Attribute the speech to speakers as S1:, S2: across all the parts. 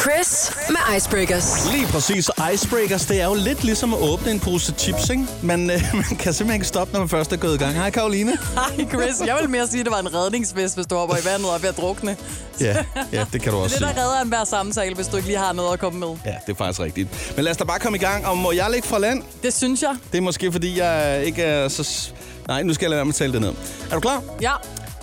S1: Chris med Icebreakers.
S2: Lige præcis. Icebreakers, det er jo lidt ligesom at åbne en pose chips, ikke? Man, øh, man kan simpelthen ikke stoppe, når man først er gået i gang. Hej, Karoline.
S3: Hej Chris, jeg vil mere sige, at det var en redningsvest, hvis du hopper i vandet og er ved at drukne.
S2: Ja, ja, det kan du også
S3: Det, der
S2: sige.
S3: redder en hver samtale, hvis du ikke lige har noget at komme med.
S2: Ja, det er faktisk rigtigt. Men lad os da bare komme i gang. Og må jeg ligge fra land?
S3: Det synes jeg.
S2: Det er måske, fordi jeg ikke er så... s- Nej, nu skal jeg lade være med at tale det ned. Er du klar?
S3: Ja,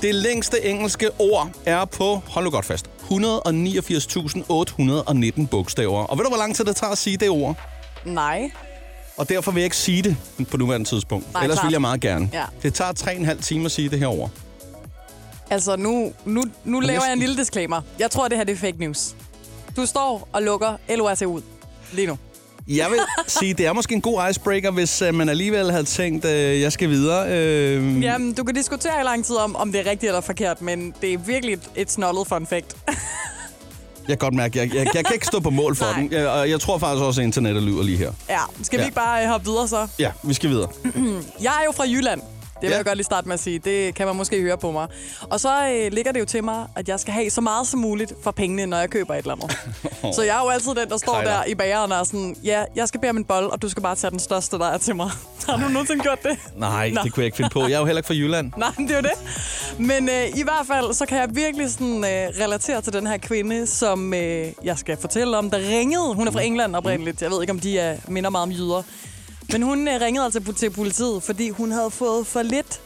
S2: Det længste engelske ord er på, hold nu godt fast, 189.819 bogstaver. Og ved du, hvor lang tid det tager at sige det ord?
S3: nej.
S2: Og derfor vil jeg ikke sige det på nuværende tidspunkt.
S3: Nej,
S2: Ellers
S3: klart.
S2: vil jeg meget gerne.
S3: Ja.
S2: Det tager 3,5 timer at sige det her ord.
S3: Altså, nu, nu, nu laver jeg
S2: næsten.
S3: en lille disclaimer. Jeg tror, det her det er fake news. Du står og lukker LORT ud lige nu.
S2: Mm. Jeg vil sige, det er måske en god icebreaker, hvis øh, man alligevel havde tænkt, øh, jeg skal videre. Øh,
S3: Jamen, du kan diskutere i lang tid om, om det er rigtigt eller forkert, men det er virkelig et, et snollet fun fact.
S2: Jeg kan godt mærke, jeg, jeg, jeg kan ikke stå på mål for
S3: Nej.
S2: den. Jeg, og jeg tror faktisk også, at internettet lyver lige her.
S3: ja, skal vi
S2: Ja.
S3: ikke bare øh, hoppe videre så?
S2: Ja, vi skal videre.
S3: Jeg er jo fra Jylland. Det vil
S2: Ja.
S3: jeg godt lige starte med at sige. Det kan man måske høre på mig. Og så øh, ligger det jo til mig, at jeg skal have så meget som muligt for pengene, når jeg køber et eller andet. så jeg er jo altid den, der står
S2: Krejler.
S3: der i bageren og er sådan, ja, jeg skal bære min bold, og du skal bare tage den største, der er til mig. Har du nogensinde gjort det?
S2: Nej,
S3: Nå.
S2: det kunne jeg ikke finde på. Jeg er jo heller ikke fra Jylland.
S3: Nej, men det er jo det. Men øh, i hvert fald, så kan jeg virkelig sådan, øh, relatere til den her kvinde, som øh, jeg skal fortælle om, der ringede. Hun er
S2: Mm.
S3: fra England oprindeligt. Jeg ved ikke, om de er, minder meget om jyder. Men hun øh, ringede altså til politiet, fordi hun havde fået for lidt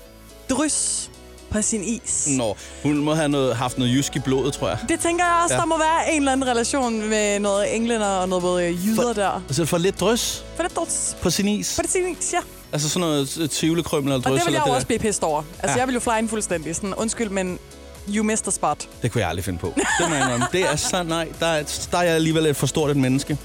S3: drys på sin is.
S2: Nå, hun må have noget, haft noget jysk i blodet, tror jeg.
S3: Det tænker jeg også,
S2: Ja.
S3: ja. der må være en eller anden relation med noget englænder og noget både øh, jyder
S2: For-
S3: der.
S2: Altså for lidt drys
S3: For lidt drys
S2: på sin is.
S3: på sin is, ja.
S2: Altså sådan noget tvivlekrømmel eller
S3: Og
S2: drys.
S3: det vil jeg
S2: eller
S3: jo
S2: der.
S3: også blive pissed over. Altså,
S2: Ja.
S3: ja. jeg vil jo fly ind fuldstændig. Sådan, undskyld, men you missed the spot.
S2: Det kunne jeg aldrig finde på. Det må jeg indrømme. Det er så nej. Der er, der er jeg alligevel et for stort et menneske.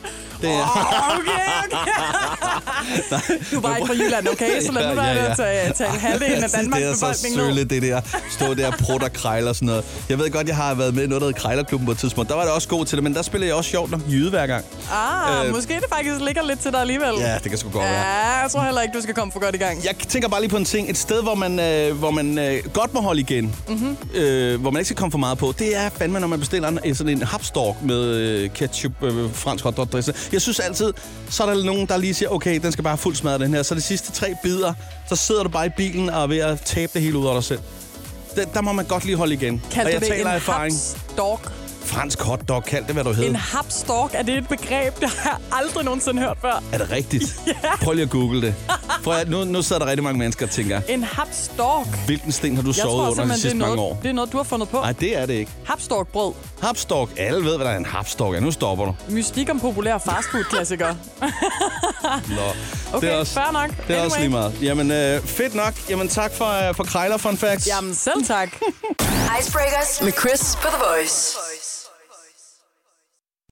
S2: Det er,
S3: Okay, okay. du var ikke fra Jylland, okay? Så lad nu
S2: Ja,
S3: være
S2: ja,
S3: med
S2: ja.
S3: at tage, tage halvdelen af Danmarks
S2: det er så
S3: befolkning ned.
S2: sølle, det der. Stå der og prutte og krejle og sådan noget. Jeg ved godt, jeg har været med i noget, der hedder Krejlerklubben på et tidspunkt. Der var det også god til det, men der spillede jeg også sjovt nok jyde hver gang.
S3: Ah,
S2: Øh,
S3: øh, måske det faktisk ligger lidt til dig alligevel.
S2: Ja, det kan sgu godt være.
S3: Ja, jeg tror heller ikke, du skal komme for godt i gang.
S2: Jeg tænker bare lige på en ting. Et sted, hvor man, øh, hvor man øh, godt må holde igen,
S3: Mhm.
S2: mm-hmm. øh, hvor man ikke skal komme for meget på, det er fandme, når man bestiller en, øh, sådan en hapstork med øh, ketchup, øh, fransk hotdog dressing. Jeg synes altid, så er der nogen, der lige siger, okay, den skal bare fuldt smadre den her. Så de sidste tre bidder, så sidder du bare i bilen og er ved at tabe det hele ud af dig selv. Der, der må man godt lige holde igen.
S3: Kaldte
S2: og
S3: du
S2: jeg
S3: det
S2: taler
S3: en
S2: af erfaring.
S3: hapsdork?
S2: Fransk hotdog, kald det, hvad du hedder.
S3: En hapsdork, er det et begreb, der har jeg aldrig nogensinde hørt før?
S2: Er det rigtigt? Yeah. Prøv lige at google det. Prøv at, nu, nu sidder der rigtig mange mennesker og tænker,
S3: En hapsdork?
S2: hvilken sten har du
S3: Jeg
S2: sovet
S3: tror
S2: under de
S3: simpelthen, det
S2: sidste
S3: er,
S2: mange
S3: noget,
S2: år?
S3: det er noget, du har fundet på.
S2: Nej, det er det ikke.
S3: Hapsdorkbrød.
S2: Hapstok. Alle ved, hvad der er en hapstok. Ja, nu stopper du.
S3: Mystik om populære fastfood-klassikere.
S2: Nå.
S3: Okay, fair nok.
S2: Det er anyway. også lige meget. Jamen, øh, fedt nok. Jamen, tak for, øh, for Krejler Fun Facts.
S3: Jamen, selv tak.
S1: Icebreakers med Chris på The Voice.